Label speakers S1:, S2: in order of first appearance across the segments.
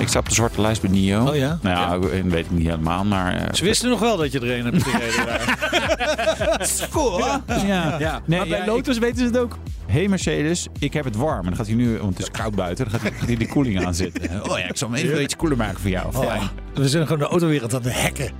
S1: Ik sta op de zwarte lijst bij NIO.
S2: Oh ja?
S1: Nou ja, ik weet ik niet helemaal, maar... eh,
S2: Ze wisten nog wel dat je er een hebt gereden. daar.
S1: ja.
S2: Ja.
S1: Nee,
S3: maar bij
S1: ja,
S3: Lotus weten ze het ook.
S1: ik- hey Mercedes, ik heb het warm. En dan gaat hij nu, want het is koud buiten, dan gaat hij- gaat hij de koeling aan zitten. Oh ja, ik zal hem even iets koeler maken voor jou.
S2: Oh,
S1: Fijn.
S2: We zijn gewoon de autowereld aan de hekken.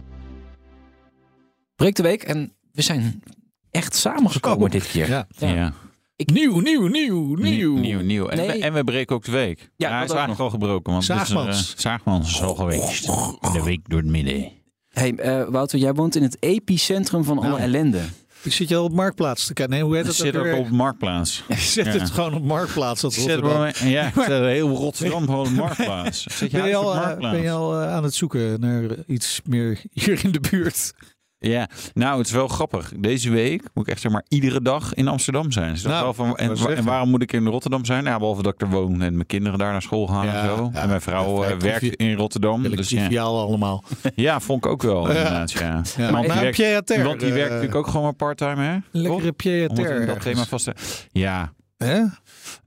S3: Breek de week en we zijn echt samengekomen dit keer.
S2: Ja.
S1: Ja.
S2: Nieuw, nieuw, nieuw,
S1: Nieuw, nieuw, nieuw. En,
S3: Nee.
S1: we, en we breken ook de week.
S3: Ja,
S1: hij
S3: dat
S1: is
S3: ook
S1: eigenlijk al gebroken. Want het
S2: Zaagmans.
S1: Is er, eh, Zaagmans is al geweest. De week door het midden.
S3: Hey, eh, Wouter, jij woont in het epicentrum van alle
S2: Nou.
S3: ellende.
S2: Ik zit je al op marktplaats te kijken. Nee, hoe heet
S1: Dat
S2: dat
S1: zit
S2: ook
S1: ook
S2: weer?
S1: op Marktplaats.
S2: Je zet
S1: Ja.
S2: het gewoon op marktplaats. Dat
S1: Zit
S2: Rotterdam.
S1: op- ja, ik zit heel Rotterdam gewoon op Marktplaats. Zit je
S2: Ben je,
S1: huis op
S2: al, eh, ben je
S1: Marktplaats?
S2: al eh, aan het zoeken naar eh, iets meer hier in de buurt?
S1: Ja, nou het is wel grappig. Deze week moet ik echt zeg maar iedere dag in Amsterdam zijn. Ze dachten
S2: Nou,
S1: wel van, en,
S2: wou
S1: wa- en
S2: zeggen.
S1: waarom moet ik in Rotterdam zijn? Nou, Ja, behalve dat ik er woon en mijn kinderen daar naar school gaan
S2: Ja,
S1: en zo.
S2: ja.
S1: en mijn vrouw
S2: Ja,
S1: eh,
S2: vrij
S1: werkt
S2: trivi-
S1: in Rotterdam.
S2: Dus
S1: Dus ja.
S2: triviaal allemaal.
S1: ja, vond ik ook wel
S2: Ja.
S1: inderdaad. Ja.
S2: Ja.
S1: Want, die
S2: Maar
S1: werkt,
S2: Pierre Ter,
S1: want die
S2: eh,
S1: werkt natuurlijk ook gewoon maar part-time hè?
S2: Lekkere Pierre
S1: Om het in
S2: Ter.
S1: dat thema vast te... Ja,
S2: Hè?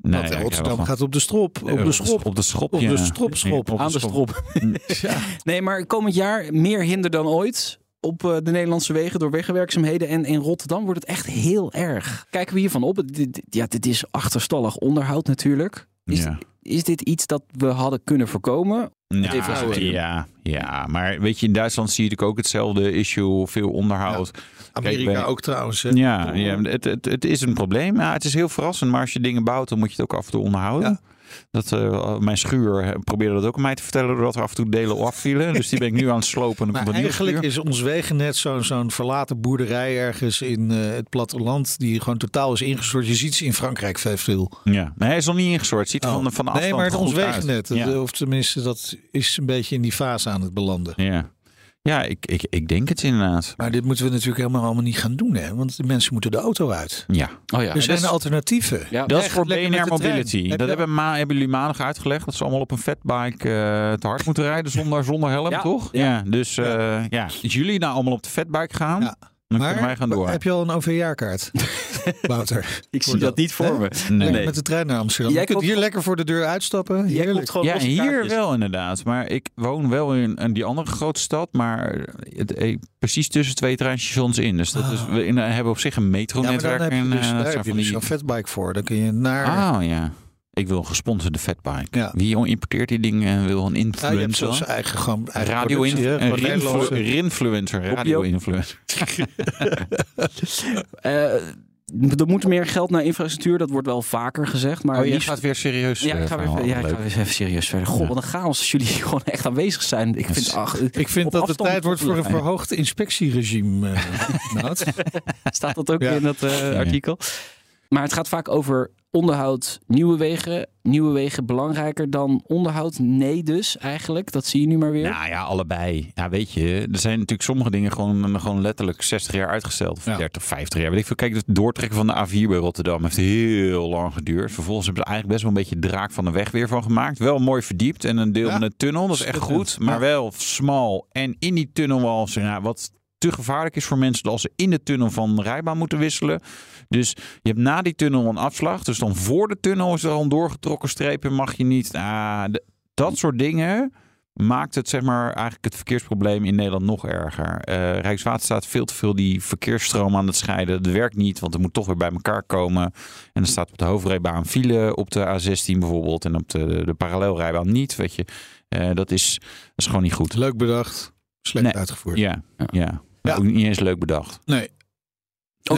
S1: nee,
S2: Want
S1: ja, ik
S2: Rotterdam
S1: heb
S2: gaat op de strop. Op
S1: wel-
S2: de schop.
S1: Op de schop,
S2: Op de
S1: ja.
S2: strop, schop.
S1: Ja, op
S3: Aan de strop.
S2: Ja.
S3: Nee, maar komend jaar meer hinder dan ooit op eh, de Nederlandse wegen door wegwerkzaamheden. En in Rotterdam wordt het echt heel erg. Kijken we hiervan op. Dit- dit- Ja, dit is achterstallig onderhoud natuurlijk. Is,
S1: Ja.
S3: is dit iets dat we hadden kunnen voorkomen?
S1: Ja,
S3: Even zo.
S1: ja, ja, maar weet je, in Duitsland zie je natuurlijk ook hetzelfde issue, veel onderhoud.
S2: Amerika
S1: bij-
S2: ook trouwens. hè.
S1: Ja, ja het, het, het is een probleem. Ja, het is heel verrassend, maar als je dingen bouwt, dan moet je het ook af en toe onderhouden.
S2: Ja.
S1: Dat, eh, mijn schuur eh, probeerde dat ook aan mij te vertellen, doordat er af en toe delen afvielen. Dus die ben ik nu aan het slopen. En dan
S2: Maar
S1: komt een nieuwe
S2: eigenlijk
S1: schuur.
S2: is ons wegennet zo'n zo'n verlaten boerderij ergens in eh, het platteland. Die gewoon totaal is ingestort. Je ziet ze in Frankrijk veel veel.
S1: Ja, maar hij is nog niet ingestort. Het Ziet er Oh, van, de- van de
S2: Oh. nee,
S1: afstand
S2: maar het
S1: goed
S2: ons
S1: uit.
S2: wegennet.
S1: Ja.
S2: Of tenminste, dat is een beetje in die fase aan het belanden.
S1: Ja, ja ik, ik, ik denk het inderdaad.
S2: Maar dit moeten we natuurlijk helemaal allemaal niet gaan doen. Hè? Want de mensen moeten de auto uit.
S1: Ja. dus-
S3: Oh ja,
S2: Er zijn alternatieven.
S3: ja
S1: Dat
S2: Oh, Echt
S1: is voor
S2: lekker met
S1: BNR
S2: de trein.
S1: Mobility.
S2: Heb je-
S1: Dat hebben, ma hebben jullie maandag uitgelegd. Dat ze allemaal op een fatbike eh, te hard moeten rijden zonder, zonder helm,
S3: Ja.
S1: toch? Ja. Dus eh, ja. als jullie nou allemaal op de fatbike gaan,
S2: Ja.
S1: dan
S2: Maar
S1: kunnen wij gaan door.
S2: heb je al een OV-jaarkaart, Wouter?
S3: ik zie dat niet voor me.
S1: Nee.
S2: Lekker Met de trein naar Amsterdam.
S3: Jij
S2: je kunt
S3: komt-
S2: hier lekker voor de deur uitstappen.
S3: Jij
S2: Heerlijk.
S3: komt gewoon
S1: Ja,
S3: losse
S1: hier
S3: kaartjes.
S1: wel inderdaad. Maar ik woon wel in, in die andere grote stad, maar het, eh, precies tussen twee treinstations in. Dus dat is, we in, hebben op zich een
S2: Ah. Ja, maar dan
S1: metronetwerk.
S2: heb je
S1: en,
S2: dus,
S1: eh, dat
S2: daar
S1: zijn
S2: heb je
S1: van
S2: dus
S1: die-
S2: zo'n fatbike voor. Dan kun je naar...
S1: Ah ja, ik wil een gesponsorde fatbike.
S2: Ja.
S1: Wie importeert die dingen? Wil een
S2: Ja, je hebt
S1: influencer?
S2: zelfs eigen, gewoon, eigen
S1: Radio
S2: productie, hè,
S1: een
S2: gewoon Nederlandse.
S1: rinflu- rinfluencer,
S3: je
S1: radio
S3: ook?
S1: influencer.
S3: Eh, er moet meer geld naar infrastructuur. Dat wordt wel vaker gezegd. Maar
S1: Oh, je
S3: liefst-
S1: gaat weer serieus.
S3: Ja,
S1: eh,
S3: ik ga weer,
S1: verhaal.
S3: ja, ik
S1: Leuk.
S3: ga weer even serieus verder. Goh,
S1: Ja.
S3: wat een chaos als jullie hier gewoon echt aanwezig zijn. Ik vind, ach, eh,
S2: Ik vind
S3: op
S2: dat het
S3: afstand
S2: tijd wordt voor een
S3: moeten we
S2: verhoogd inspectieregime. eh, Nout.
S3: Staat dat ook
S2: Ja.
S3: in dat eh, artikel? Maar het gaat vaak over onderhoud, nieuwe wegen. Nieuwe wegen belangrijker dan onderhoud? Nee dus, eigenlijk. Dat zie je nu maar weer.
S1: Nou ja, allebei. Ja, weet je, er zijn natuurlijk sommige dingen gewoon, gewoon letterlijk 60 jaar uitgesteld. Of
S2: Ja.
S1: 30, 50 jaar. Weet ik veel. Kijk, het doortrekken van de A4 bij Rotterdam heeft heel lang geduurd. Vervolgens hebben ze er eigenlijk best wel een beetje draak van de weg weer van gemaakt. Wel mooi verdiept en een deel
S2: Ja.
S1: van de tunnel. Dat is echt
S2: Schitterend.
S1: goed. Maar
S2: Ja.
S1: wel smal. En in die tunnel was, ja, wat te gevaarlijk is voor mensen als ze in de tunnel van rijbaan moeten wisselen. Dus je hebt na die tunnel een afslag. Dus dan voor de tunnel is er al een doorgetrokken streep en mag je niet. Ah, d- dat soort dingen maakt het zeg maar eigenlijk het verkeersprobleem in Nederland nog erger. Eh Rijkswaterstaat veel te veel die verkeersstroom aan het scheiden. Dat werkt niet, want het moet toch weer bij elkaar komen. En dan staat op de hoofdrijbaan file op de A16 bijvoorbeeld en op de, de parallelrijbaan niet, weet je. Eh, dat, is, dat is gewoon niet goed.
S2: Leuk bedacht. Slecht
S1: Nee.
S2: uitgevoerd.
S1: Ja, ja.
S2: Ja.
S1: Ook niet eens leuk bedacht.
S2: Nee,
S3: ook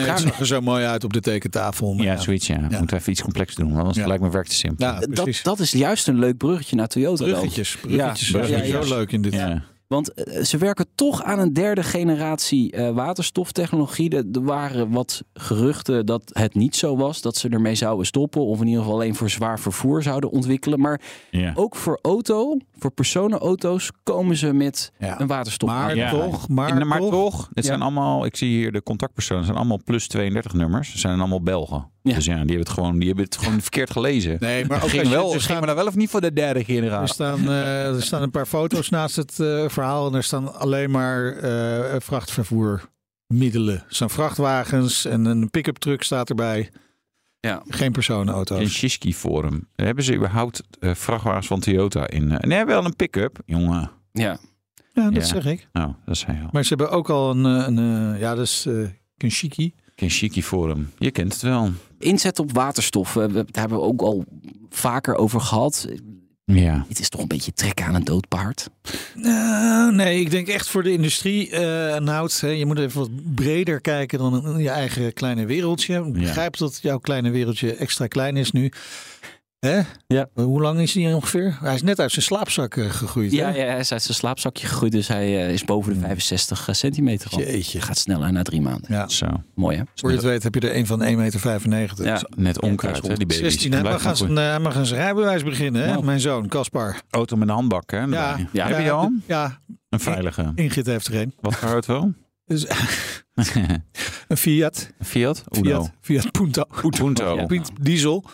S2: nee, het
S3: raar.
S2: zag er zo mooi uit op de tekentafel. maar
S1: Ja, zoiets ja.
S2: Ja.
S1: Moeten we even iets complex doen, want anders
S2: Ja.
S1: lijkt mijn werk te simpel.
S2: ja,
S3: dat,
S2: precies.
S3: dat is juist een leuk bruggetje naar Toyota. dan.
S2: bruggetjes. Bruggetjes.
S3: Ja,
S2: zijn
S3: bruggetjes.
S2: Zo leuk in dit.
S1: Ja.
S3: Want eh, ze werken toch aan een derde generatie eh, waterstoftechnologie. Er er waren wat geruchten dat het niet zo was. Dat ze ermee zouden stoppen. Of in ieder geval alleen voor zwaar vervoer zouden ontwikkelen. Maar
S1: Ja.
S3: ook voor auto Voor personenauto's komen ze met
S2: Ja.
S3: een waterstop.
S2: Maar
S1: Ja.
S2: toch, maar,
S1: En- maar
S2: toch.
S1: toch, het
S3: Ja.
S1: zijn allemaal, ik zie hier de contactpersonen, het zijn allemaal plus 32 nummers. Het zijn allemaal Belgen.
S3: Ja.
S1: Dus ja, die hebben het gewoon, die hebben het gewoon verkeerd gelezen.
S2: Nee, maar ook
S1: ging
S2: als je- dus
S1: wel,
S2: er
S1: ging
S2: staan-
S1: maar dan wel of niet voor de derde
S2: Er
S1: generatie?
S2: staan, eh, er staan een paar foto's naast het eh, verhaal en er staan alleen maar eh, vrachtvervoermiddelen. Er staan vrachtwagens en een pick-up truck staat erbij.
S3: Ja.
S2: Geen personenauto's.
S1: Een Shiski Forum. Daar Hebben ze überhaupt eh, vrachtwagens van Toyota in? eh, nee, wel een pick-up. Jongen,
S3: Ja.
S2: Ja, dat
S1: Ja.
S2: zeg ik.
S1: nou, dat zei je al.
S2: Maar ze hebben ook al een, eh, een eh, ja, dat is eh Kenshiki.
S1: Een Shiski Forum. Je kent het wel.
S3: Inzet op waterstof, eh, we- daar hebben we ook al vaker over gehad.
S1: Ja.
S3: Het is toch een beetje trekken aan een dood paard.
S2: Eh, nee, ik denk echt voor de industrie, eh Nout. Hè, je moet even wat breder kijken dan in je eigen kleine wereldje. Ik
S1: Ja.
S2: begrijp dat jouw kleine wereldje extra klein is nu. Hè?
S3: Ja.
S2: Hoe lang is hij ongeveer? Hij is net uit zijn slaapzak eh, gegroeid.
S3: Ja,
S2: hè?
S3: ja, hij is uit zijn slaapzakje gegroeid, dus hij eh, is boven de 65 centimeter. al.
S2: Jeetje.
S3: Gaat sneller na drie maanden.
S2: Ja.
S1: Zo.
S3: Mooi hè?
S2: Voor je het weet heb je er een van 1,95 meter.
S3: Ja.
S1: Net onkruid,
S3: Ja,
S1: hè, die baby's.
S2: 16, hij mag,
S1: Blijft
S2: aan
S1: nog
S2: zijn, hij mag aan zijn rijbewijs beginnen, hè?
S1: Nou.
S2: mijn zoon, Caspar.
S1: goed. Auto met een handbak, hè? erbij.
S3: Ja.
S1: Heb je al?
S2: de- Ja,
S1: Een veilige.
S2: Ingrid heeft er een.
S1: Wat voor auto?
S2: Dus, een Fiat.
S1: Fiat? Uno.
S2: Fiat, Fiat Punto.
S1: Punto.
S3: Ja.
S2: Fiat Diesel.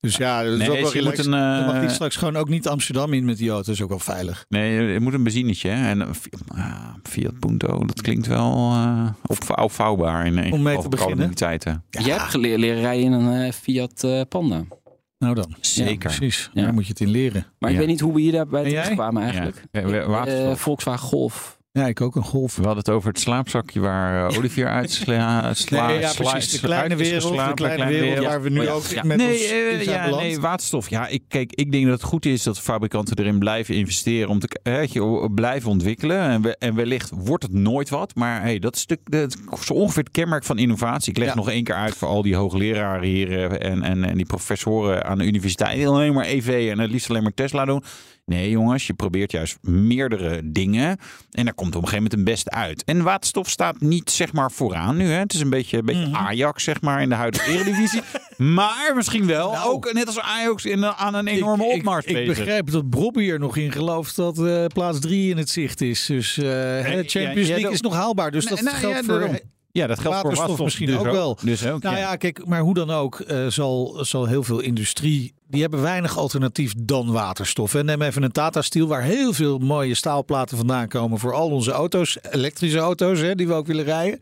S2: Dus ja, dat is ook
S1: Nee,
S2: wel
S1: dus je moet
S2: relaxed.
S1: een, eh,
S2: Dan mag die straks gewoon ook niet Amsterdam in met die auto. is ook wel veilig.
S1: nee, je moet een benzinetje. hè. En een Fiat, ah, Fiat Punto, dat klinkt wel eh op, opvouwbaar in, in
S2: Om mee
S1: geval
S2: te
S1: van
S2: beginnen.
S1: calamiteiten.
S3: Jij hebt geleerd leren rijden in een eh, Fiat eh, Panda.
S2: Nou dan.
S1: Zeker.
S2: Precies.
S3: Ja.
S2: Daar moet je het in leren.
S3: Maar ik
S1: Ja.
S3: weet niet hoe we hier daarbij
S2: En jij?
S3: terecht kwamen eigenlijk.
S1: Ja. Eh, waterstof.
S3: Eh, Volkswagen Golf.
S2: Ja, ik ook een Golf.
S1: We hadden het over het slaapzakje waar eh, Olivier uitsla, sla,
S2: Nee, ja,
S1: sla-
S2: precies. De
S1: sla-
S2: kleine
S1: uit is
S2: wereld, de
S1: geslapen,
S2: kleine wereld
S3: wereld.
S2: waar we nu
S3: Ja.
S2: ook
S3: Ja.
S2: met
S1: Nee,
S2: ons
S1: eh,
S2: in zijn
S1: ja,
S2: beland.
S1: nee, waterstof. Ja, ik, kijk, ik denk dat het goed is dat fabrikanten erin blijven investeren. Om te k- hè, dat je o- blijven ontwikkelen. En, we, en wellicht wordt het nooit wat. Maar hey, dat is, de, dat is zo ongeveer het kenmerk van innovatie. Ik leg
S2: Ja.
S1: nog één keer uit voor al die hoogleraren hier. eh, En, en, en die professoren aan de universiteit. Die alleen maar EV en het liefst alleen maar Tesla doen. Nee, jongens, je probeert juist meerdere dingen. En daar komt op een gegeven moment een best uit. En waterstof staat niet zeg maar vooraan nu. Hè. Het is een beetje, een
S2: Mhm.
S1: beetje Ajax zeg maar in de huidige eredivisie. maar misschien wel
S2: Nou.
S1: ook net als Ajax in, een- aan een
S2: Ik-
S1: enorme
S2: ik,
S1: opmars
S2: ik,
S1: bezig.
S2: begrijp dat Bobby er nog in gelooft dat eh, plaats 3 in het zicht is. Dus eh, hè,
S1: ja,
S2: Champions
S1: ja,
S2: League
S1: dat-
S2: is nog haalbaar. Dus dat
S1: Nou,
S2: geldt
S1: ja,
S2: voor...
S1: daarom. ja, dat geldt voor
S2: waterstof
S1: waterstof
S2: misschien
S1: dus
S2: ook wel.
S1: Dus ook,
S2: Nou
S1: ja.
S2: ja, kijk, maar hoe dan ook eh, zal, zal heel veel industrie... Die hebben weinig alternatief dan waterstof. En neem even een Tata Steel waar heel veel mooie staalplaten vandaan komen... voor al onze auto's, elektrische auto's hè, die we ook willen rijden.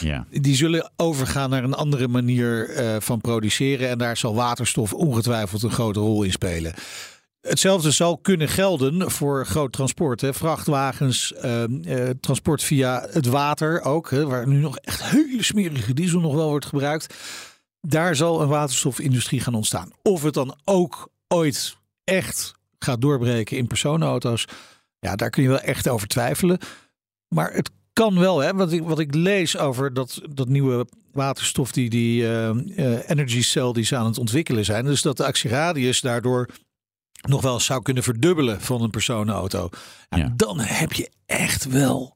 S1: Ja.
S2: Die zullen overgaan naar een andere manier eh, van produceren. En daar zal waterstof ongetwijfeld een grote rol in spelen. Hetzelfde zal kunnen gelden voor groot transport. Hè? Vrachtwagens, ehm, eh, transport via het water ook. Hè? Waar nu nog echt hele smerige diesel nog wel wordt gebruikt. Daar zal een waterstofindustrie gaan ontstaan. Of het dan ook ooit echt gaat doorbreken in personenauto's. Ja, daar kun je wel echt over twijfelen. Maar het kan wel, hè? Wat ik, wat ik lees over dat, dat nieuwe waterstof, die, die eh, eh, energy cell die ze aan het ontwikkelen zijn. Dus dat de actieradius daardoor nog wel zou kunnen verdubbelen van een personenauto. Ja,
S1: Ja.
S2: Dan heb je echt wel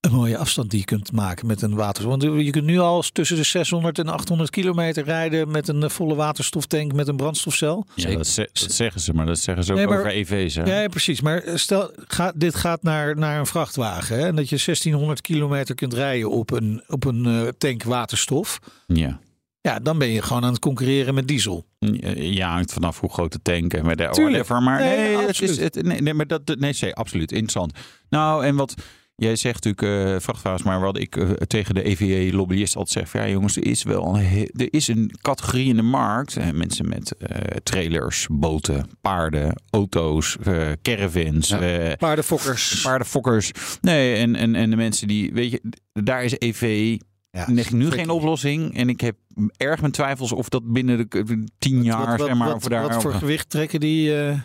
S2: een mooie afstand die je kunt maken met een waterstof. Want je kunt nu al tussen de 600 en 800 kilometer rijden met een eh, volle waterstoftank met een brandstofcel.
S1: Ja, dat, ze- dat zeggen ze, maar dat zeggen ze ook
S2: Nee, maar-
S1: over EV's. Hè?
S2: Ja, precies. Maar eh, stel, ga, dit gaat naar, naar een vrachtwagen. Hè? En dat je 1600 kilometer kunt rijden op een, op een eh, tank waterstof.
S1: Ja.
S2: Ja, dan ben je gewoon aan het concurreren met diesel.
S1: Ja, Eh, hangt vanaf hoe groot de tank en met de
S2: Tuurlijk.
S1: whatever, Maar
S2: Nee,
S1: nee, het
S2: absoluut.
S1: is, het, nee, nee, maar dat, nee, zee, absoluut interessant. Nou, en wat jij zegt natuurlijk, eh vrachtwagens, maar wat ik eh, tegen de EVA-lobbyist altijd zeg, van, ja jongens, er is wel een, he- er is een categorie in de markt. eh, mensen met eh, trailers, boten, paarden, auto's, eh, caravans,
S3: Ja.
S1: eh,
S2: Paardenfokkers.
S1: paardenfokkers. Nee, en, en, en de mensen die, weet je, daar is E EV
S2: Ja,
S1: Leg nu
S2: zeker.
S1: geen oplossing. En ik heb erg mijn twijfels of dat binnen de k- tien
S2: Wat,
S1: jaar,
S2: wat,
S1: zeg maar,
S2: wat-
S1: of we daar
S2: wat voor gewicht trekken die? eh,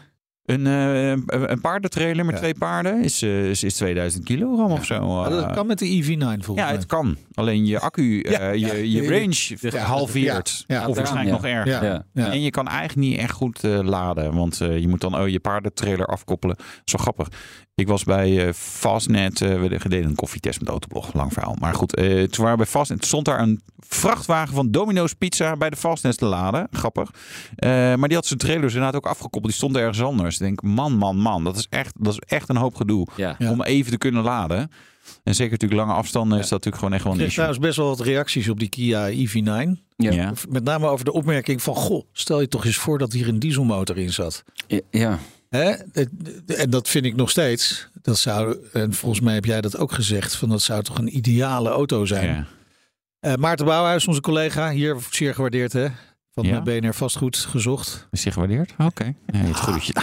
S1: een, eh, een, een paardentrailer met
S2: Ja.
S1: twee paarden is, eh, is, is 2000 kilogram of zo.
S2: ja, Ah,
S1: eh.
S2: dat kan met de EV9 volgens
S1: ja,
S2: mij.
S1: het kan. Alleen je accu, eh,
S2: ja.
S1: je, je
S2: Ja,
S1: range halveert.
S2: ja, ja.
S1: Of waarschijnlijk nog erger.
S2: Ja.
S3: Ja.
S2: Ja.
S1: En je kan eigenlijk niet echt goed eh, laden. Want eh, je moet dan oh, je paardentrailer afkoppelen. Zo grappig. Ik was bij eh, Fastnet. eh, we deden een koffietest met Autoblog. Lang verhaal. Maar goed, eh, toen waren we bij Fastnet. stond daar een vrachtwagen van Domino's Pizza bij de Fastnet te laden. Grappig. Eh, maar die had zijn trailers inderdaad ook dus afgekoppeld. Die stond ergens anders. Als je denkt, man, man, man, dat is echt, dat is echt een hoop gedoe.
S3: Ja.
S2: Ja.
S1: Om even te kunnen laden. En zeker natuurlijk lange afstanden is dat natuurlijk gewoon echt wel
S2: Ik
S1: een
S2: kreeg
S1: issue.
S2: trouwens best wel wat reacties op die Kia EV9.
S3: Ja.
S1: Ja.
S2: Met name over de opmerking van, goh, stel je toch eens voor dat hier een dieselmotor in zat.
S3: Ja, ja.
S2: Hè? Het- En dat vind ik nog steeds. Dat zou, en volgens mij heb jij dat ook gezegd, van dat zou toch een ideale auto zijn.
S1: Ja.
S2: Eh, Maarten Bouwhuis, onze collega, hier zeer gewaardeerd hè. Van
S1: Ja?
S2: BNR Vastgoed gezocht.
S1: Is die gewaardeerd? Oké. Nee, het goedje.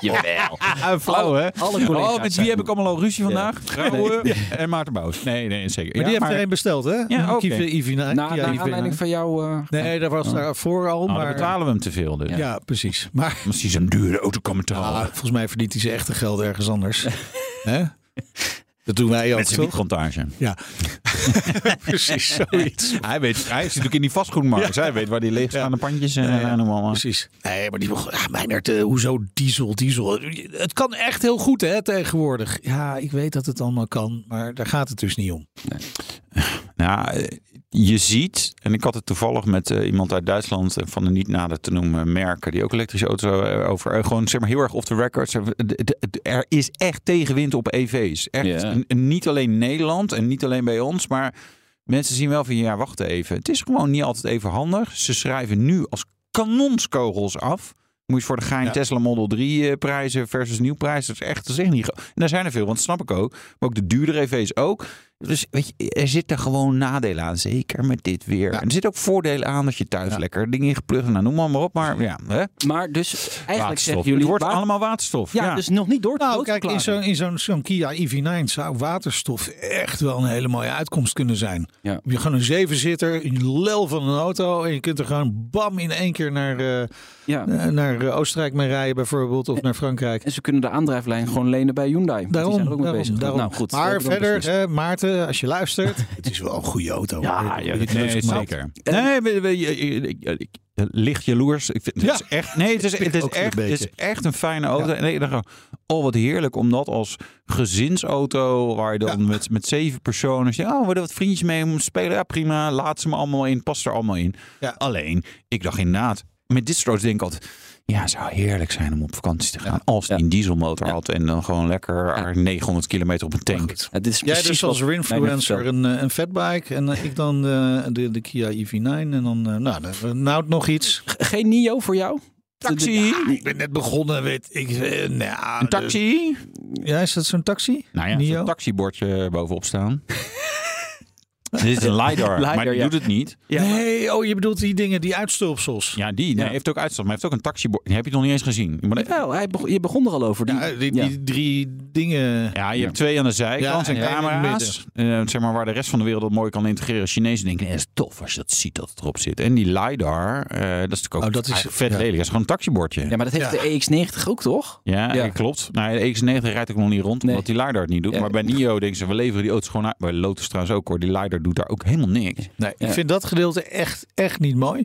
S3: Jawel.
S1: flauw, Ah, hè?
S3: Alle collega's
S1: Oh, met
S3: zijn
S1: wie heb ik
S3: goed.
S1: allemaal al ruzie
S3: Ja.
S1: vandaag? Rauwe en Maarten Bouws. Nee, nee, zeker.
S2: Maar
S1: Ja,
S2: die heeft
S1: maar- Ah,
S2: er een besteld, hè?
S1: Ja, oké.
S2: Kia EV9.
S3: Na, naar
S2: Kia EV9.
S3: aanleiding van jou... eh,
S2: Nee, daar was
S1: Oh.
S2: daarvoor al,
S1: Oh, dan
S2: maar...
S1: betalen we hem te veel. Dus.
S2: ja. precies. Maar
S1: Als hij zo'n dure auto kan betalen.
S2: ah, volgens mij verdient hij zijn echte geld ergens anders. Hè? Dat doen wij ook,
S1: met zijn
S2: toch?
S1: wietplantage.
S2: Ja. precies, zoiets.
S1: Hij, weet, hij zit natuurlijk in die vastgoedmarkt. dus Hij weet waar die leegstaande pandjes en
S2: Ja, ja.
S1: en noem allemaal.
S2: Precies. Nee, maar die begon, ah, Meijnerd, eh, hoezo diesel, diesel? Het kan echt heel goed, hè, tegenwoordig. Ja, ik weet dat het allemaal kan, maar daar gaat het dus niet om.
S1: Nou, eh, je ziet, en ik had het toevallig met eh, iemand uit Duitsland eh, van de niet nader te noemen merken, die ook elektrische auto's eh, over, eh, gewoon zeg maar heel erg off the record. Ze- de- de- de- Er is echt tegenwind op EV's. Echt,
S3: Ja.
S1: N- Niet alleen Nederland en niet alleen bij ons, maar mensen zien wel van ja, wacht even. Het is gewoon niet altijd even handig. Ze schrijven nu als kanonskogels af. Moet je voor de gein
S2: Ja.
S1: Tesla Model 3 eh, prijzen versus nieuw prijs. Dat is echt, dat is echt niet... ge- En daar zijn er veel, want dat snap ik ook. Maar ook de duurdere EV's ook. Dus weet je, er zitten gewoon nadelen aan. Zeker met dit weer. En er zitten ook voordelen aan als je thuis lekker dingen ingeplucht. Nou, noem maar, maar op. Maar ja, hè?
S3: Maar dus eigenlijk
S1: waterstof.
S3: zeggen jullie...
S1: het wordt
S3: waar-
S1: allemaal waterstof.
S3: ja,
S1: Ja,
S3: dus nog niet door te
S2: Nou, kijk, in
S3: doodverklaren.
S2: zo'n in zo'n zo'n Kia EV9 zou waterstof echt wel een hele mooie uitkomst kunnen zijn.
S3: Ja.
S2: Heb Je gewoon een zevenzitter, een lel van een auto... en je kunt er gewoon bam in één keer naar, eh,
S3: Ja.
S2: eh, naar eh, Oostenrijk mee rijden bijvoorbeeld... of naar Frankrijk.
S3: En ze kunnen de aandrijflijn gewoon lenen bij Hyundai. want
S2: Daarom,
S3: die zijn er ook mee
S2: daarom,
S3: bezig.
S2: daarom.
S3: Nou, goed,
S2: maar
S3: dat hebben we
S2: verder,
S3: beslist.
S2: hè, Maarten, als je luistert... het is wel een goede auto.
S3: Ja,
S1: Ah,
S2: hoor.
S3: ja,
S2: Dit is
S1: Nee,
S2: leuk gemaakt.
S1: zeker. Nee, we- we- je- je- ik- ik- licht jaloers. Ik vind,
S2: Ja.
S1: het is echt, nee, het is, het, is
S2: ook een
S1: echt, het is
S2: beetje.
S1: echt een fijne auto. En ik dacht, oh wat heerlijk om dat als gezinsauto, waar je dan met, met zeven personen, als je, oh, we hebben wat vriendjes mee om te spelen. Ja, prima, laat ze me allemaal in, past er allemaal in.
S2: Ja.
S1: Alleen, ik dacht inderdaad, met dit soort auto's denk ik altijd, ja, het zou heerlijk zijn om op vakantie te gaan. Als die
S3: Ja.
S1: een dieselmotor had en dan gewoon lekker 900 kilometer op een tank.
S2: Goed.
S3: Ja, dit is
S2: Jij
S3: precies
S2: dus als
S3: wat mij net
S2: influencer
S3: vertelde.
S2: een, eh, een fatbike en eh, ik dan eh, de, de Kia EV9 en dan eh, nou, dan- nou nog iets.
S3: Geen NIO voor jou?
S1: Taxi,
S2: Ik ben net begonnen, weet ik. eh, nou,
S1: een taxi.
S2: de- ja, is dat zo'n taxi?
S1: Nou ja,
S2: Nio?
S1: zo'n taxibordje bovenop staan. Dit is een LiDAR, maar die
S3: ja.
S1: doet het niet.
S3: Ja.
S2: Nee, oh, je bedoelt die dingen, die uitstulpsels.
S1: Ja, die nee,
S3: Ja.
S1: heeft ook uitstand, maar heeft ook een taxibord. Die heb je nog niet eens gezien. Maar dat-
S3: Wel, hij begon, je begon er al over. Die,
S2: Ja, die,
S3: ja.
S2: die drie dingen.
S1: ja, je hebt twee aan de zijkant
S2: Ja,
S1: en
S2: en één in het
S1: camera's. Eh, zeg maar waar de rest van de wereld dat mooi kan integreren. Chinezen denken, nee, dat is tof als je dat ziet dat het erop zit. En die LiDAR, eh, dat is natuurlijk ook
S2: Oh, dat is-
S1: eigenlijk vet
S2: ja.
S1: lelijk. Dat is gewoon een taxibordje.
S3: Ja,
S1: Ja,
S3: maar dat heeft
S2: Ja.
S3: de EX90 ook, toch? Ja.
S1: eh, klopt. Nou, de X90 rijdt ook nog niet rond,
S3: Nee.
S1: omdat die LiDAR het niet doet.
S3: Ja.
S1: Maar bij NIO denken ze, we leveren die auto's gewoon uit. Bij Lotus trouwens ook hoor, die LiDAR doet daar ook helemaal niks.
S2: Nee,
S3: Ja.
S2: Ik vind dat gedeelte echt, echt niet mooi.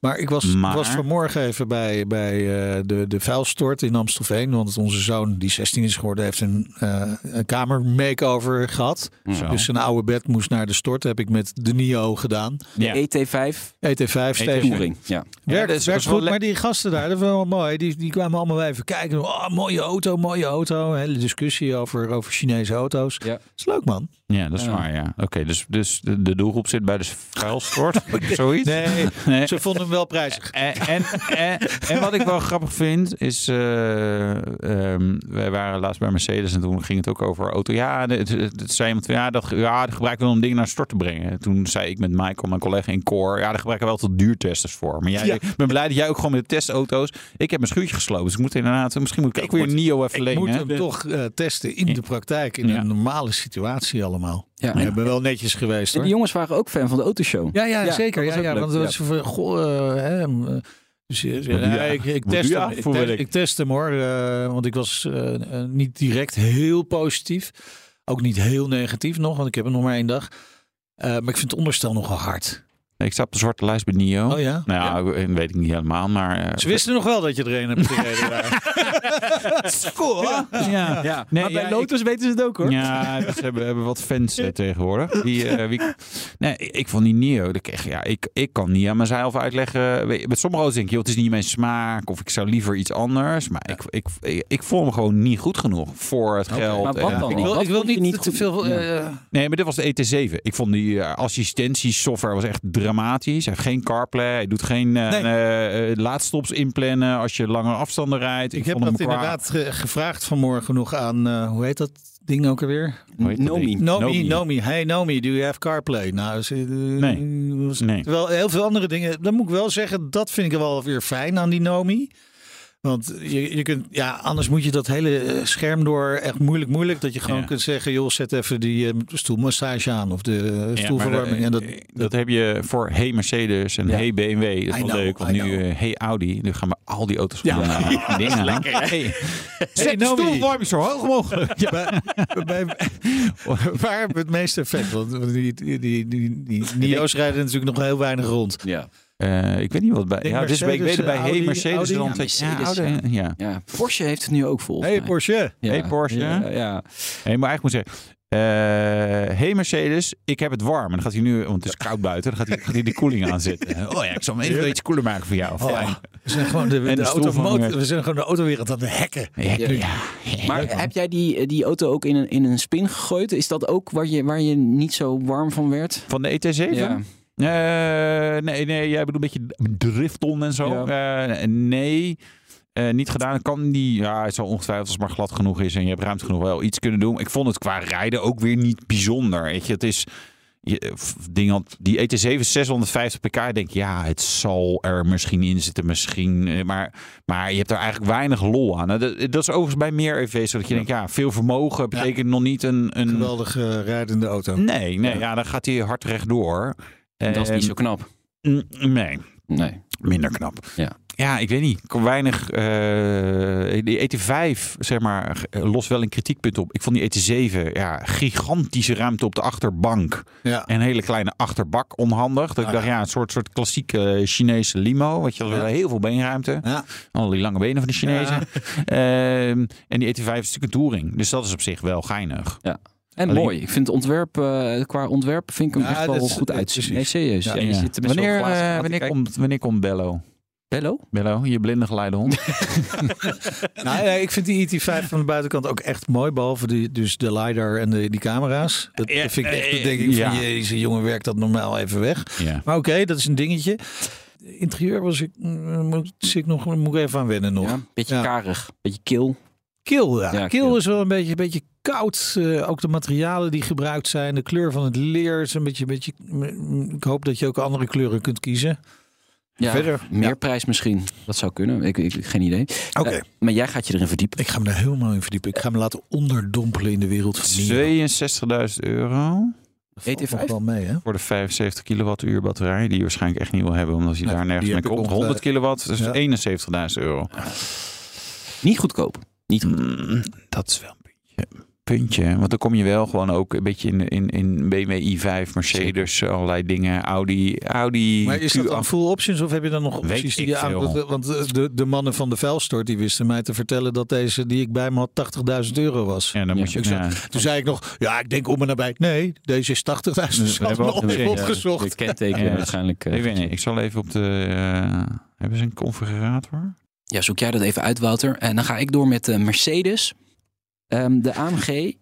S2: Maar ik was,
S1: Maar-
S2: was vanmorgen even bij, bij eh, de, de vuilstort in Amstelveen. Want onze zoon, die 16 is geworden, heeft een, eh een kamer makeover gehad.
S1: Zo.
S2: Dus zijn oude bed moest naar de stort. Heb ik met de NIO gedaan. E
S1: ja.
S3: ET5
S2: ET5 steeds.
S3: E Touring. Ja.
S1: E Ja,
S2: Werkt,
S1: dat is- dat
S2: werkt
S1: is wel
S2: goed,
S1: le-
S2: maar die gasten daar, dat was wel mooi. Die, die kwamen allemaal even kijken. Oh, mooie auto, mooie auto. Een hele discussie over, over Chinese auto's.
S3: Ja.
S2: Dat is leuk, man.
S1: Ja, dat is
S3: Ja.
S1: waar, ja. Oké, dus, dus de de doelgroep zit bij de vuilstort, zoiets?
S2: Nee,
S1: Nee.
S2: ze vonden hem wel prijzig.
S1: En, en, en, en wat ik wel grappig vind, is... eh, ehm, wij waren laatst bij Mercedes en toen ging het ook over auto. Ja, de- het, het, het zei iemand, van, ja, dat, ja, dat gebruiken we om dingen naar het stort te brengen. Toen zei ik met Michael, mijn collega in Core... Ja, daar gebruiken we wel tot duurtesters voor. Maar jij,
S2: Ja.
S1: ik ben blij dat jij ook gewoon met de testauto's... Ik heb mijn schuurtje gesloten, dus ik moet inderdaad... Misschien moet ik ook
S2: Ik
S1: weer
S2: moet-
S1: een NIO even
S2: Ik
S1: lenen.
S2: moet
S1: hè?
S2: hem toch eh, testen in de praktijk, in
S1: Ja.
S2: een normale situatie allemaal.
S3: Ja.
S2: Ik ben wel netjes geweest
S3: En
S2: hoor.
S3: die jongens waren ook fan van de autoshow.
S2: Ja, ja,
S3: Ja,
S2: zeker.
S3: dat
S2: Ja,
S3: was
S2: ja,
S3: ook
S2: want
S3: leuk,
S2: dat is van, goh, eh, hè, m, dus, eh,
S1: doe
S2: ja,
S1: je-
S2: ik, ik
S1: wat
S2: test
S1: doe je
S2: hem. Ik
S1: voor
S2: test,
S1: werk?
S2: ik test hem hoor, eh, want ik was eh, eh, niet direct heel positief. Ook niet heel negatief nog, want ik heb er nog maar één dag. Eh, maar ik vind het onderstel nogal hard.
S1: Ik sta op de zwarte lijst bij NIO.
S2: Oh ja?
S1: Nou ja, weet ik niet helemaal, maar... eh,
S2: Ze wisten nog wel dat je er een hebt gereden. daar.
S1: Ja,
S3: Ja.
S1: Nee,
S3: maar bij
S1: ja,
S2: dus
S3: Lotus weten ze het ook hoor.
S1: Ja, ze hebben, hebben wat fans eh, tegenwoordig. Die, eh, wie, nee, ik ik vond die Nio. dat kreeg- Ja, ik, ik kan niet aan mezelf uitleggen. Weet je, Met sommige auto's denk ik, joh, het is niet mijn smaak. Of ik zou liever iets anders. Maar ik, ik, ik, ik vond hem gewoon niet goed genoeg voor het geld.
S3: Maar wat
S1: en-
S3: dan?
S2: ik wil,
S3: Wat
S2: ik wil
S3: vond je
S2: niet,
S3: niet
S2: te
S3: goed?
S2: veel...
S3: Ja.
S2: eh,
S1: Nee, maar dit was de ET7. Ik vond die eh, assistentiesoftware was echt dramatisch. Hij heeft geen CarPlay. Hij doet geen eh,
S2: Nee.
S1: eh, eh, laadstops inplannen als je langere afstanden rijdt.
S2: Ik heb
S1: vond hem
S2: dat
S1: qua-
S2: inderdaad ge- gevraagd vanmorgen nog aan, eh, hoe heet dat ding ook alweer?
S1: Hoe heet dat
S3: Nomi.
S1: ding?
S2: Nomi, Nomi. Hey Nomi, do you have CarPlay? Nou, ze,
S1: Nee.
S2: was-
S1: Nee.
S2: Terwijl heel veel andere dingen, dan moet ik wel zeggen, dat vind ik wel weer fijn aan die Nomi. Want je, je kunt, ja, anders moet je dat hele eh, scherm door echt moeilijk, moeilijk. Dat je gewoon
S1: Ja.
S2: kunt zeggen, joh, zet even die eh, stoelmassage aan of de eh,
S1: Ja,
S2: stoelverwarming.
S1: maar
S2: en
S1: dat,
S2: dat,
S1: dat heb je voor hey Mercedes en
S2: Ja.
S1: hey BMW. Dat is
S2: I
S1: wel
S2: know,
S1: leuk. Want
S2: I
S1: nu
S2: know.
S1: eh, hey Audi. Nu gaan we al die auto's ja. naar dingen aan. Hey, zet de
S2: Nomi.
S1: stoelwarming zo hoog mogelijk.
S2: Ja, bij, bij- waar hebben we het meeste effect? Want die, die, die, die, die Nio's rijden natuurlijk nog heel weinig rond.
S3: Ja.
S1: Eh, ik weet niet wat bij.
S2: Denk
S1: Ja, dus ik
S2: Mercedes,
S1: weet het bij
S2: eh,
S1: hey
S2: Audi,
S1: Mercedes.
S2: Audi.
S1: dan
S2: Ja,
S1: zet je-
S3: Mercedes,
S1: ja, Audi, ja.
S3: ja. Porsche heeft het nu ook volgens
S2: hey,
S3: mij.
S2: Porsche.
S3: Ja.
S1: Hey, Porsche.
S3: Ja, ja.
S1: Hey, maar eigenlijk moet ik zeggen. eh, hey Mercedes, ik heb het warm. En dan gaat hij nu, want het is koud buiten, dan gaat hij, gaat hij de koeling aanzetten. Oh ja, ik zal hem even iets koeler maken voor jou. Fijn.
S2: We zijn gewoon de,
S1: de Mm.
S2: de
S1: stoelverwarming.
S2: automo- we zijn gewoon de autowereld aan de hekken.
S1: Ja,
S3: Ja.
S1: ja.
S3: Maar heb jij die, eh, die auto ook in een, in een spin gegooid? Is dat ook waar je, waar je niet zo warm van werd?
S1: Van de E ET7? Eh, nee, nee, jij bedoelt een beetje drifton en zo. Eh, nee, eh, niet gedaan. Kan die, ja, het zal ongetwijfeld als het maar glad genoeg is en je hebt ruimte genoeg wel iets kunnen doen. Ik vond het qua rijden ook weer niet bijzonder. Weet je, het is je, f- ding had, die E ET7 is 650 pk. Ik denk, ja, het zal er misschien in zitten, misschien. eh, Maar, maar je hebt er eigenlijk weinig lol aan. Nou, Dat, dat is overigens bij meer EV's. zo Dat je denkt, ja, veel vermogen betekent nog niet een. een
S2: Geweldig eh, rijdende auto.
S1: nee, nee, ja. dan gaat hij hard rechtdoor.
S3: dat is niet
S1: Ehm,
S3: zo knap.
S1: Mm, Nee,
S3: Nee.
S1: minder knap.
S3: Ja.
S1: ja ik weet niet. Ik kon weinig. eh die ET5, zeg maar, eh, los wel een kritiekpunt op. Ik vond die ET7, ja, gigantische ruimte op de achterbank.
S2: Ja.
S1: En een hele kleine achterbak onhandig. Dat ik
S2: Ah,
S1: dacht, ja, een soort, soort klassieke eh, Chinese limo. Weet je, wel,
S2: Ja.
S1: heel veel beenruimte.
S2: Ja.
S1: Al die lange benen van de Chinezen. Ehm, en die ET5 is natuurlijk een touring. Dus dat is op zich wel geinig.
S3: En
S1: Alleen-
S3: mooi. Ik vind het ontwerp, eh, qua ontwerp vind ik hem
S2: Ja,
S3: echt wel
S2: dat is-
S3: goed
S2: dat is
S3: uitzien.
S2: precies.
S3: Nee, serieus.
S2: Ja,
S3: Ja, je
S1: Ja.
S3: zit er best wel
S1: wanneer,
S3: glazen
S1: eh,
S3: aan te
S1: wanneer,
S3: kijken.
S1: komt, wanneer komt Bello?
S3: Bello?
S1: Bello, je blinde geleidehond.
S2: Nou, ja, ik vind die ET5 van de buitenkant ook echt mooi. Behalve die, dus de LiDAR en de, die camera's. Dat
S1: Ja,
S2: vind ik echt,
S1: eh,
S2: dat denk ik
S1: ja.
S2: van jezus jongen, werkt dat normaal even weg.
S1: ja.
S2: Maar oké, dat is een dingetje. Interieur was ik, mm, moet, zit ik nog, moet ik even aan wennen nog.
S3: Ja, een beetje
S2: Ja.
S3: karig. beetje kil.
S2: Kil, ja.
S3: Ja,
S2: kil,
S3: kil.
S2: is wel een beetje, een beetje koud. Eh, ook de materialen die gebruikt zijn, de kleur van het leer is een beetje, een beetje. mm, Ik hoop dat je ook andere kleuren kunt kiezen.
S3: Ja,
S2: Verder.
S3: Meer
S2: Ja.
S3: prijs misschien. Dat zou kunnen. Ik, ik, geen idee.
S2: Oké.
S3: Eh, maar jij gaat je erin verdiepen.
S2: Ik ga me daar helemaal in verdiepen. Ik ga me laten onderdompelen in de wereld van Mio.
S1: 62.000 euro
S2: Dat valt
S3: ET5?
S2: nog wel mee, hè?
S1: voor de 75 kilowattuur batterij, die je waarschijnlijk echt niet wil hebben, omdat je
S2: Nee,
S1: daar nergens
S2: die
S1: mee
S2: heb ik
S1: komt.
S2: ook,
S1: 100 kilowatt, dus
S2: ja.
S1: 71.000 euro.
S3: Niet goedkoop. Niet goed.
S1: Mm, dat is wel een puntje. Puntje, hè? want dan kom je wel gewoon ook een beetje in, in, in BMW i5, Mercedes, allerlei dingen, Audi, Audi.
S2: Maar is dat
S1: Q8.
S2: dan full options of heb je dan nog
S1: Weet
S2: opties die
S1: ik
S2: je aan...
S1: veel.
S2: Want eh, de, de mannen van de vuilstort die wisten mij te vertellen dat deze die ik bij me had 80.000 euro was.
S1: Ja, dan
S3: Ja,
S1: moet je...
S2: ik
S1: ja.
S2: Toen zei ik nog, ja, ik denk om en nabij. Nee, deze is 80.000.
S1: Dus
S2: Dus
S1: we hebben al gezien, ja.
S2: opgezocht.
S3: Het kenteken
S1: Ja.
S3: waarschijnlijk. eh,
S1: Ik weet niet, ik zal even op de... eh, hebben ze een configurator?
S3: Ja, zoek jij dat even uit, Wouter. En dan ga ik door met de Mercedes. Ehm, de AMG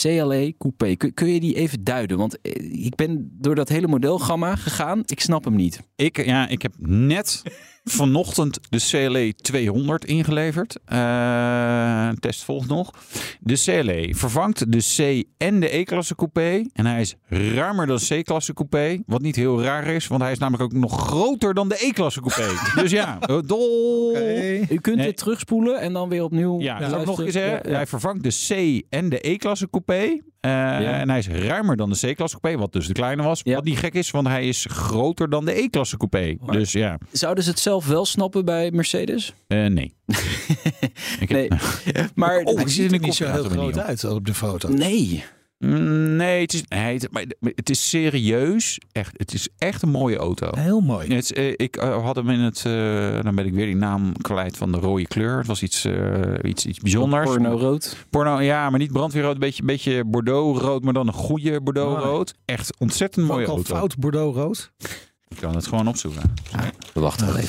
S3: CLE E Coupé. Kun, kun je die even duiden? Want eh, ik ben door dat hele modelgamma gegaan. Ik snap hem niet.
S1: Ik, ja, ik heb net vanochtend de CLE 200 ingeleverd. Eh, een test volgt nog. De CLE vervangt de C en de E-klasse coupé. En hij is ruimer dan C-klasse coupé. Wat niet heel raar is, want hij is namelijk ook nog groter dan de E-klasse coupé. dus ja, eh, dol.
S3: U kunt
S1: Nee.
S3: dit terugspoelen en dan weer opnieuw.
S1: Ja,
S3: luisteren.
S1: zal ik nog eens. hè?
S3: Ja, ja.
S1: Hij vervangt de C en de E-klasse coupé. Eh, En hij is ruimer dan de C-klasse coupé, wat dus de kleine was.
S3: Ja.
S1: Wat niet gek is, want hij is groter dan de E-klasse coupé. Dus ja,
S3: Zouden ze het zelf wel snappen bij Mercedes?
S1: eh, nee. ik heb,
S3: Nee. Maar
S1: Oh,
S2: Hij
S1: ik
S2: ziet
S1: zit
S2: er
S1: in de
S2: niet zo heel
S1: configurator
S2: groot
S1: niet op.
S2: uit op de foto.
S3: nee.
S1: Mm, Nee, het is, nee, het, maar het is serieus. Echt, het is echt een mooie auto.
S2: Heel mooi.
S1: Het, is, eh, ik eh, had hem in het. eh, dan ben ik weer die naam kwijt van de rode kleur. Het was iets, eh, iets, iets bijzonders.
S3: Porno rood.
S1: Porno, ja, maar niet brandweerrood. Beetje, beetje bordeauxrood, maar dan een goede bordeauxrood. Echt ontzettend mooie
S2: Ook al
S1: auto.
S2: fout Bordeaux rood.
S1: Ik kan het gewoon opzoeken.
S3: Wacht even.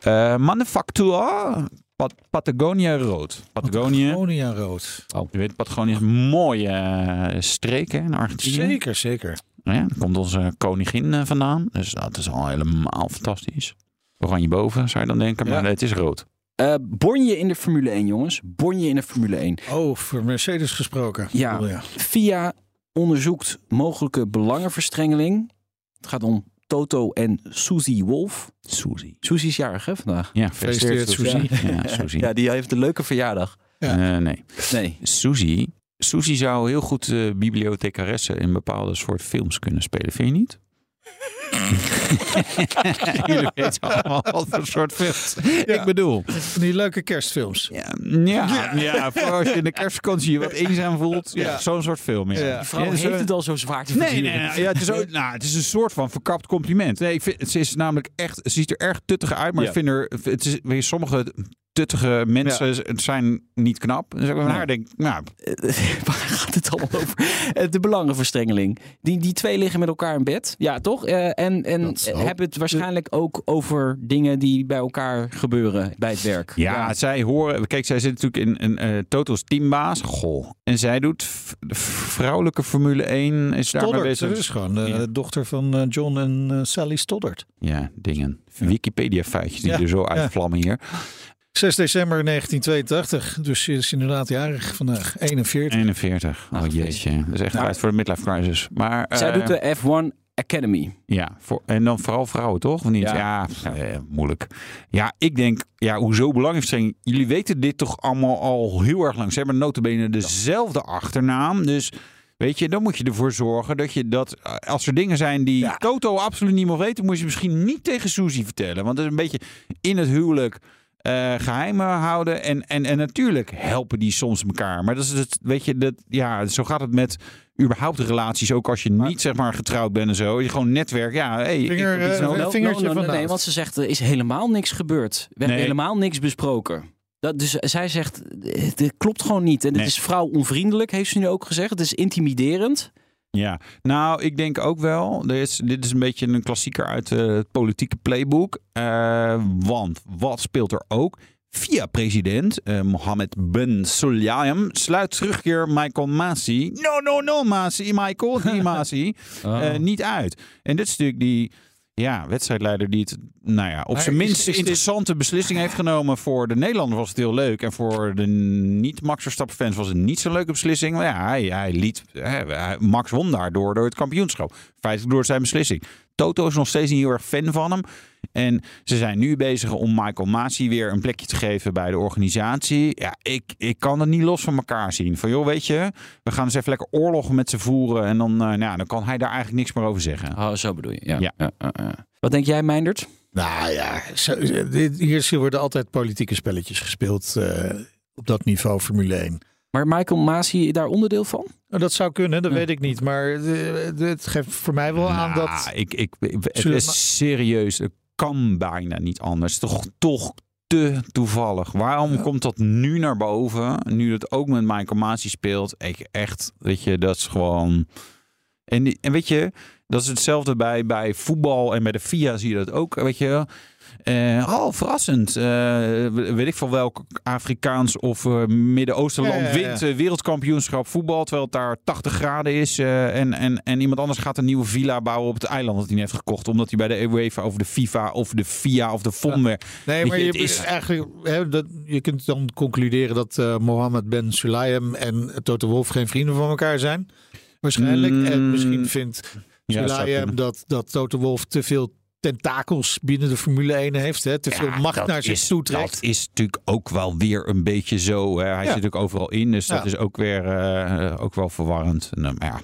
S1: Eh Manufactura Pat- Patagonia rood. Patagonië.
S2: Monia rood.
S1: Je weet, Patagonië is een mooie eh, streek hè, in Argentinië. Nou
S2: Zeker, zeker.
S1: Ja, daar komt onze koningin eh, vandaan. Dus dat is al helemaal fantastisch. Oranje boven, zou je dan denken. Maar
S2: Ja.
S1: nee, het is rood.
S3: Eh, born je in de Formule 1, jongens. Born je in de Formule 1.
S2: Oh, voor Mercedes gesproken.
S3: Ja.
S2: Oh, ja.
S3: FIA onderzoekt mogelijke belangenverstrengeling. Het gaat om Toto en Suzy Wolf.
S1: Suzy.
S3: Suzy is jarig, hè, vandaag?
S1: Ja,
S2: Gefeliciteerd,
S1: gefeliciteerd Suzy. Ja, Suzy.
S3: Ja, die heeft een leuke verjaardag.
S2: Ja.
S1: Eh, nee.
S3: Nee.
S1: Suzy. Suzy zou heel goed eh bibliothecaresse in bepaalde soort films kunnen spelen, vind je niet? Jullie weten allemaal wat voor soort films. Ik bedoel,
S2: Van die leuke kerstfilms.
S1: ja, ja, ja, voor als je in de kerstvakantie je wat eenzaam voelt, ja,
S2: Ja.
S1: zo'n soort film. Ja.
S2: Ja.
S1: Ja.
S2: Die
S3: Vrouw heeft
S1: zo-
S3: het al zo zwaar te
S1: Nee,
S3: verduren.
S1: nee, nee. Ja, het, is ook, nou, het is een soort van verkapt compliment. Nee, ik vind, ze is namelijk echt, ze ziet er erg tuttig uit, maar
S3: Ja.
S1: ik vind er, het is, weer sommige tuttige mensen het zijn niet knap. Dus ik van haar denk, nou,
S3: Waar gaat het allemaal over? Eh, De belangenverstrengeling. Die, die twee liggen met elkaar in bed. Ja, toch? Eh, en en
S2: Dat zal.
S3: hebben het waarschijnlijk ook over dingen die bij elkaar gebeuren bij het werk.
S1: Ja, zij horen. Kijk, zij zit natuurlijk in een eh Toto's teambaas. Goh. En zij doet v- de vrouwelijke Formule 1. Is daarmee
S2: Stoddard.
S1: bezig.
S2: Dat is gewoon eh,
S1: Ja.
S2: de dochter van eh, John en eh, Sally Stoddard.
S1: Ja, dingen. Wikipedia-feitjes die
S2: Ja,
S1: er zo
S2: ja.
S1: uitvlammen hier.
S2: 6 december 1982. Dus ze is inderdaad jarig vandaag. 41.
S1: 41. Oh
S3: Ach,
S1: jeetje. Dat is echt
S3: Nou.
S1: tijd voor de midlife crisis. Maar,
S3: Zij
S1: eh,
S3: doet de F1 Academy.
S1: Ja, voor, en dan vooral vrouwen, toch? Of niet?
S3: Ja.
S1: Ja, pff, eh, moeilijk. Ja, ik denk, ja, hoezo belangenverstrengeling? Jullie weten dit toch allemaal al heel erg lang. Ze hebben notabene dezelfde achternaam, dus... Weet je, dan moet je ervoor zorgen dat je dat... eh, Als er dingen zijn die
S2: Ja.
S1: Toto absoluut niet mag weten... moet je ze misschien niet tegen Suzy vertellen. Want dat is een beetje in het huwelijk eh geheim houden. En, en, en natuurlijk helpen die soms elkaar. Maar dat is het, weet je, dat, ja, zo gaat het met überhaupt relaties. Ook als je niet zeg maar getrouwd bent en zo. Je gewoon netwerk. Ja, hey, ik
S2: Vinger,
S1: heb iets
S2: eh,
S1: nodig.
S2: Een vingertje
S3: nee,
S2: vandaan.
S3: want ze zegt er is helemaal niks gebeurd. We hebben
S1: Nee.
S3: helemaal niks besproken. Dat, dus zij zegt, eh, dit klopt gewoon niet. En het
S1: Nee.
S3: is vrouwonvriendelijk, heeft ze nu ook gezegd. Het is intimiderend.
S1: Ja, nou, ik denk ook wel. Er is, dit is een beetje een klassieker uit eh, het politieke playbook. Eh, want wat speelt er ook? Via president eh, Mohammed bin Sulayem sluit terugkeer Michael Masi. No, no, no, Masi, Michael, niet Masi. eh, niet uit. En dit is natuurlijk die ja, wedstrijdleider die het, nou ja, op
S2: Maar
S1: zijn
S2: is-
S1: minst
S2: is dit-
S1: interessante beslissing heeft genomen. Voor de Nederlander was het heel leuk. En voor de niet-Max Verstappen-fans was het niet zo'n leuke beslissing. Maar ja, hij, hij liet, hè, hij- Max won daardoor door het kampioenschap. Feitelijk door zijn beslissing. Toto is nog steeds niet heel erg fan van hem. En ze zijn nu bezig om Michael Masi weer een plekje te geven bij de organisatie. Ja, ik, ik kan het niet los van elkaar zien. Van joh, weet je, we gaan eens even lekker oorlog met ze voeren. En dan, eh, nou, ja, dan kan hij daar eigenlijk niks meer over zeggen.
S3: Oh, zo bedoel je. Ja.
S1: Ja.
S3: Wat denk jij, Meindert?
S2: Nou ja, zo- dit- hier worden altijd politieke spelletjes gespeeld eh, op dat niveau Formule 1.
S3: Maar Michael Masi daar onderdeel van?
S2: Nou, dat zou kunnen, dat
S3: Ja.
S2: weet ik niet. Maar eh, het geeft voor mij wel aan
S1: Nou,
S2: dat...
S1: Ik, ik, ik- het
S2: Zullen we maar-
S1: is serieus. Het kan bijna niet anders. Toch, toch te toevallig. Waarom komt dat nu naar boven? Nu dat ook met Michael Masi speelt. Ik echt, weet je, dat is gewoon... En, die- en weet je, dat is hetzelfde bij, bij voetbal en bij de FIA zie je dat ook. Weet je, eh, oh, verrassend. Eh, weet ik van welk Afrikaans of eh, Midden-Oostenland
S2: Ja, ja, ja.
S1: wint eh, wereldkampioenschap voetbal. Terwijl het daar 80 graden is. eh, en, en, en iemand anders gaat een nieuwe villa bouwen op het eiland dat hij net heeft gekocht. Omdat hij bij de UEFA of de FIFA of de FIA of de FOM weer-
S2: Nee,
S1: Weet
S2: maar
S1: je,
S2: je,
S1: het is-
S2: eigenlijk, hè, dat, je kunt dan concluderen dat eh, Mohammed Ben Sulayem en Toto Wolf geen vrienden van elkaar zijn. Waarschijnlijk. En
S1: Mm.
S2: misschien vindt
S1: Ja, dat zou
S2: Sulayem
S1: kunnen.
S2: dat, dat Toto Wolf te veel tentakels binnen de Formule 1 heeft. Hè, te veel
S1: Ja,
S2: macht
S1: dat
S2: naar zich
S1: is-
S2: toe trekt.
S1: Dat is natuurlijk ook wel weer een beetje zo. Hè. Hij
S2: Ja.
S1: zit ook overal in. Dus dat
S2: Ja.
S1: is ook weer eh, ook wel verwarrend. En, eh, maar ja.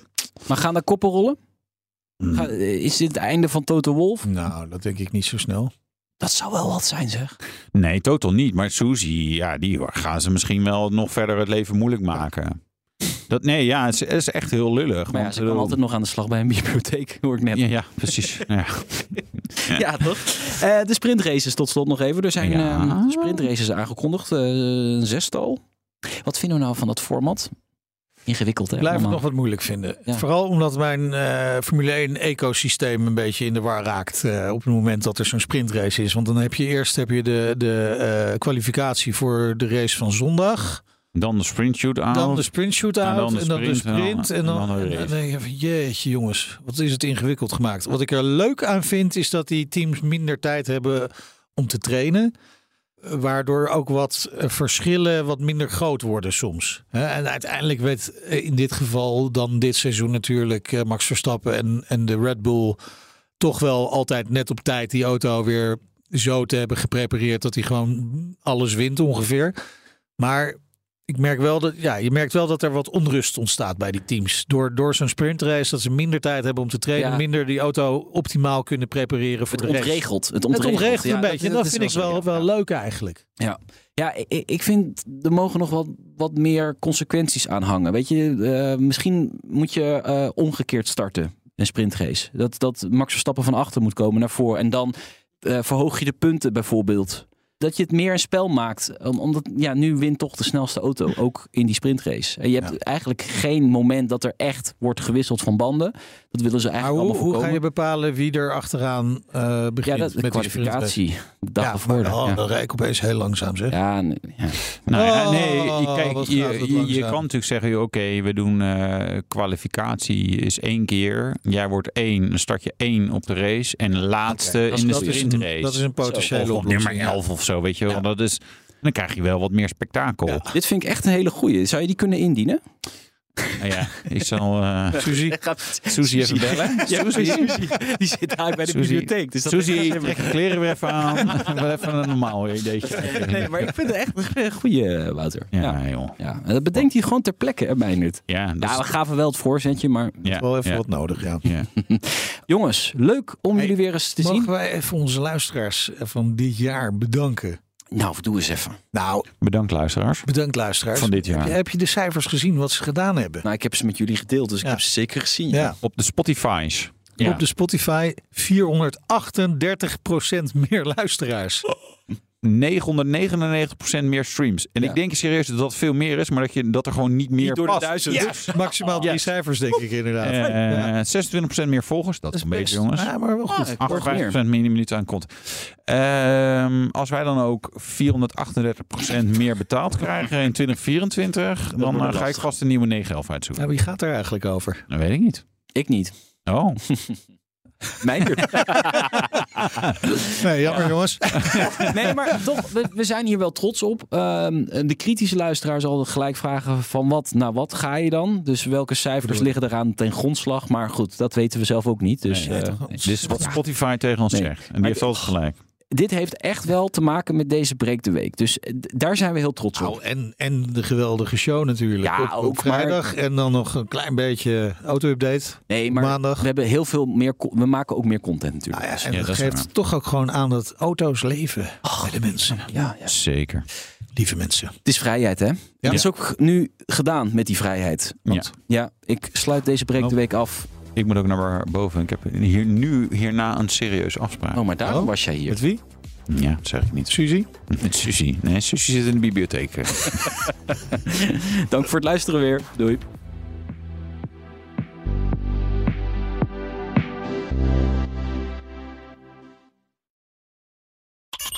S3: Maar gaan daar koppen rollen?
S1: Mm.
S3: Ga- eh, is dit het einde van Toto Wolf?
S2: Nou, dat denk ik niet zo snel.
S3: Dat zou wel wat zijn, zeg.
S1: Nee, totaal niet. Maar Suzy, ja, die gaan ze misschien wel nog verder het leven moeilijk maken. Dat, nee, ja, het is, het is echt heel lullig.
S3: Maar ja,
S1: want,
S3: ze kan
S1: eh,
S3: altijd nog aan de slag bij een bibliotheek, hoor ik net.
S1: Ja, ja precies. Nou ja.
S3: Ja, toch? Eh, de sprintraces tot slot nog even. Er zijn
S1: Ja.
S3: ehm, sprintraces aangekondigd. eh, een zestal. Wat vinden we nou van dat format? Ingewikkeld, hè?
S2: Ik blijf het nog
S3: allemaal.
S2: wat moeilijk vinden.
S3: Ja.
S2: Vooral omdat mijn eh, Formule 1 ecosysteem een beetje in de war raakt. eh, op het moment dat er zo'n sprintrace is. Want dan heb je eerst heb je de, de eh, kwalificatie voor de race van zondag.
S1: Dan de sprint shootout.
S2: dan de sprint shootout.
S1: en dan de
S2: en dan de
S1: sprint, en dan-
S2: sprint. En dan,
S1: en dan de
S2: en
S1: race.
S2: dan denk je van, jeetje jongens, wat is het ingewikkeld gemaakt. Wat ik er leuk aan vind is dat die teams minder tijd hebben om te trainen. Eh, Waardoor ook wat eh, verschillen wat minder groot worden soms. Hè, En uiteindelijk werd eh, in dit geval dan dit seizoen natuurlijk eh, Max Verstappen en, en de Red Bull toch wel altijd net op tijd die auto weer zo te hebben geprepareerd dat hij gewoon alles wint ongeveer. Maar ik merk wel dat, ja, je merkt wel dat er wat onrust ontstaat bij die teams. Door, door zo'n sprintrace, dat ze minder tijd hebben om te trainen,
S3: Ja.
S2: minder die auto optimaal kunnen prepareren voor
S3: Het
S2: de race.
S3: ontregelt. Het
S2: Het
S3: ontregelt,
S2: ontregelt
S3: Ja,
S2: een beetje. En dat, vind ik
S3: is
S2: wel, wel leuk eigenlijk.
S3: Ja, i- i- ik vind er mogen nog wat, wat meer consequenties aan hangen. Weet je, eh, misschien moet je eh, omgekeerd starten, een sprintrace. Dat, dat Max Verstappen van achter moet komen naar voren. En dan eh, verhoog je de punten bijvoorbeeld. Dat je het meer een spel maakt. Om- Omdat ja, nu wint toch de snelste auto, ook in die sprintrace. En je hebt
S2: Ja.
S3: eigenlijk geen moment dat er echt wordt gewisseld van banden. Dat willen ze
S2: Maar
S3: eigenlijk
S2: hoe,
S3: allemaal
S2: hoe ga
S3: voorkomen.
S2: je bepalen wie er achteraan eh,
S3: ja,
S2: begint
S3: dat, de
S2: met die sprintrace?
S3: kwalificatie. De dag
S2: Ja,
S3: ervoor.
S2: maar oh, dan,
S3: ja.
S2: dan rijd ik opeens heel langzaam zeg.
S3: Ja, nee, ja.
S1: Nou ja,
S2: Oh,
S1: nee, je-
S2: wat
S1: kijk, je,
S2: gaat het
S1: je- je
S2: langzaam.
S1: kan natuurlijk zeggen, joh, oké, we doen eh, kwalificatie is één keer. Jij wordt één, dan start je één op de race en laatste
S2: Als
S1: in de
S2: dat, is
S1: sprintrace.
S2: een, dat is een potentiële
S1: of op
S2: oplossing.
S1: nummer
S2: ja.
S1: 11 of zo, weet je wel. Dat is, dan krijg je wel wat meer spektakel.
S2: Ja.
S1: Ja,
S3: Dit vind ik echt een hele goeie. Zou je die kunnen indienen?
S1: ja ik zal eh
S2: Suzie,
S1: Suzy even bellen.
S3: Ja, Die zit daar bij de
S1: Suzy.
S3: bibliotheek. Dus dat
S1: Suzy, trek je kleren weer even aan. Wel even een normaal ideetje.
S3: Nee, maar ik vind het echt een goede Wouter. Ja. ja.
S1: Ja, joh.
S3: dat bedenkt hij gewoon ter plekke, hè, Meijnerd.
S1: Ja, dat
S3: Nou, we
S1: is...
S3: gaven wel het voorzetje, maar...
S1: Ja,
S2: wel even
S1: ja,
S2: wat nodig, ja.
S1: ja.
S3: Jongens, leuk om
S2: Hey,
S3: jullie weer eens te
S2: Mogen
S3: zien.
S2: wij even onze luisteraars eh, van dit jaar bedanken?
S3: Nou, doe eens even.
S2: Nou,
S1: Bedankt luisteraars.
S2: bedankt luisteraars.
S1: Van dit jaar.
S2: Heb je, heb je de cijfers gezien wat ze gedaan hebben?
S3: Nou, ik heb ze met jullie gedeeld, dus
S2: Ja.
S3: ik heb ze zeker gezien.
S2: Nou, Ja.
S1: Op de Spotify's. Ja.
S2: Op de Spotify 438% meer luisteraars.
S1: 999% meer streams. En
S2: Ja.
S1: ik denk serieus dat dat veel meer is, maar dat, je, dat er gewoon niet meer
S3: door de
S1: past.
S3: duizend.
S1: Ja.
S2: Dus maximaal drie
S1: Yes.
S2: cijfers, denk ik inderdaad.
S1: Eh,
S2: Ja,
S1: 26% meer volgers, dat,
S2: dat
S1: is een
S2: is best.
S1: beetje jongens.
S2: Ja, maar wel goed.
S3: Ah,
S1: 58% minder minuten aan komt. Ehm, als wij dan ook 438% meer betaald krijgen in 2024, dan eh, ga ik vast een nieuwe 911 uitzoeken.
S2: Nou, wie gaat er eigenlijk over?
S1: Dat weet ik niet.
S3: Ik niet.
S1: Oh,
S3: Meijnerd.
S2: Nee, jammer jongens.
S3: Nee, maar toch, we, we zijn hier wel trots op. Ehm, de kritische luisteraar zal er gelijk vragen van wat naar wat ga je dan? Dus welke cijfers liggen eraan ten grondslag? Maar goed, dat weten we zelf ook niet. Dus,
S1: Nee,
S3: eh,
S2: toch?
S3: nee.
S1: dit is wat Spotify tegen ons
S3: Nee.
S1: zegt. En die heeft altijd gelijk.
S3: dit heeft echt wel te maken met deze Break de Week. Dus eh, d- daar zijn we heel trots op.
S2: Nou, en, en de geweldige show natuurlijk.
S3: Ja,
S2: op, op
S3: ook, maar-
S2: vrijdag. En dan nog een klein beetje auto-update.
S3: Nee, maar
S2: maandag.
S3: we hebben heel veel meer. co- We maken ook meer content natuurlijk.
S2: Nou
S3: Dus
S2: ja, en
S1: Ja,
S2: dat,
S1: dat is
S2: geeft
S1: waar.
S2: toch ook gewoon aan dat auto's leven bij de mensen.
S3: ja, ja.
S1: Zeker.
S2: Lieve mensen.
S3: Het is vrijheid, hè? Dat is ook g- nu gedaan met die vrijheid.
S1: Ja.
S3: Ja, ik sluit deze Break de Week af.
S1: Ik moet ook naar boven. Ik heb hier nu hierna een serieuze afspraak.
S3: Oh, maar daar
S2: Oh.
S3: was jij hier.
S2: Met wie?
S1: Ja, dat zeg ik niet.
S2: Suzy?
S1: Met Sushi. Nee, Sushi zit in de bibliotheek. eh.
S3: Dank voor het luisteren weer. Doei.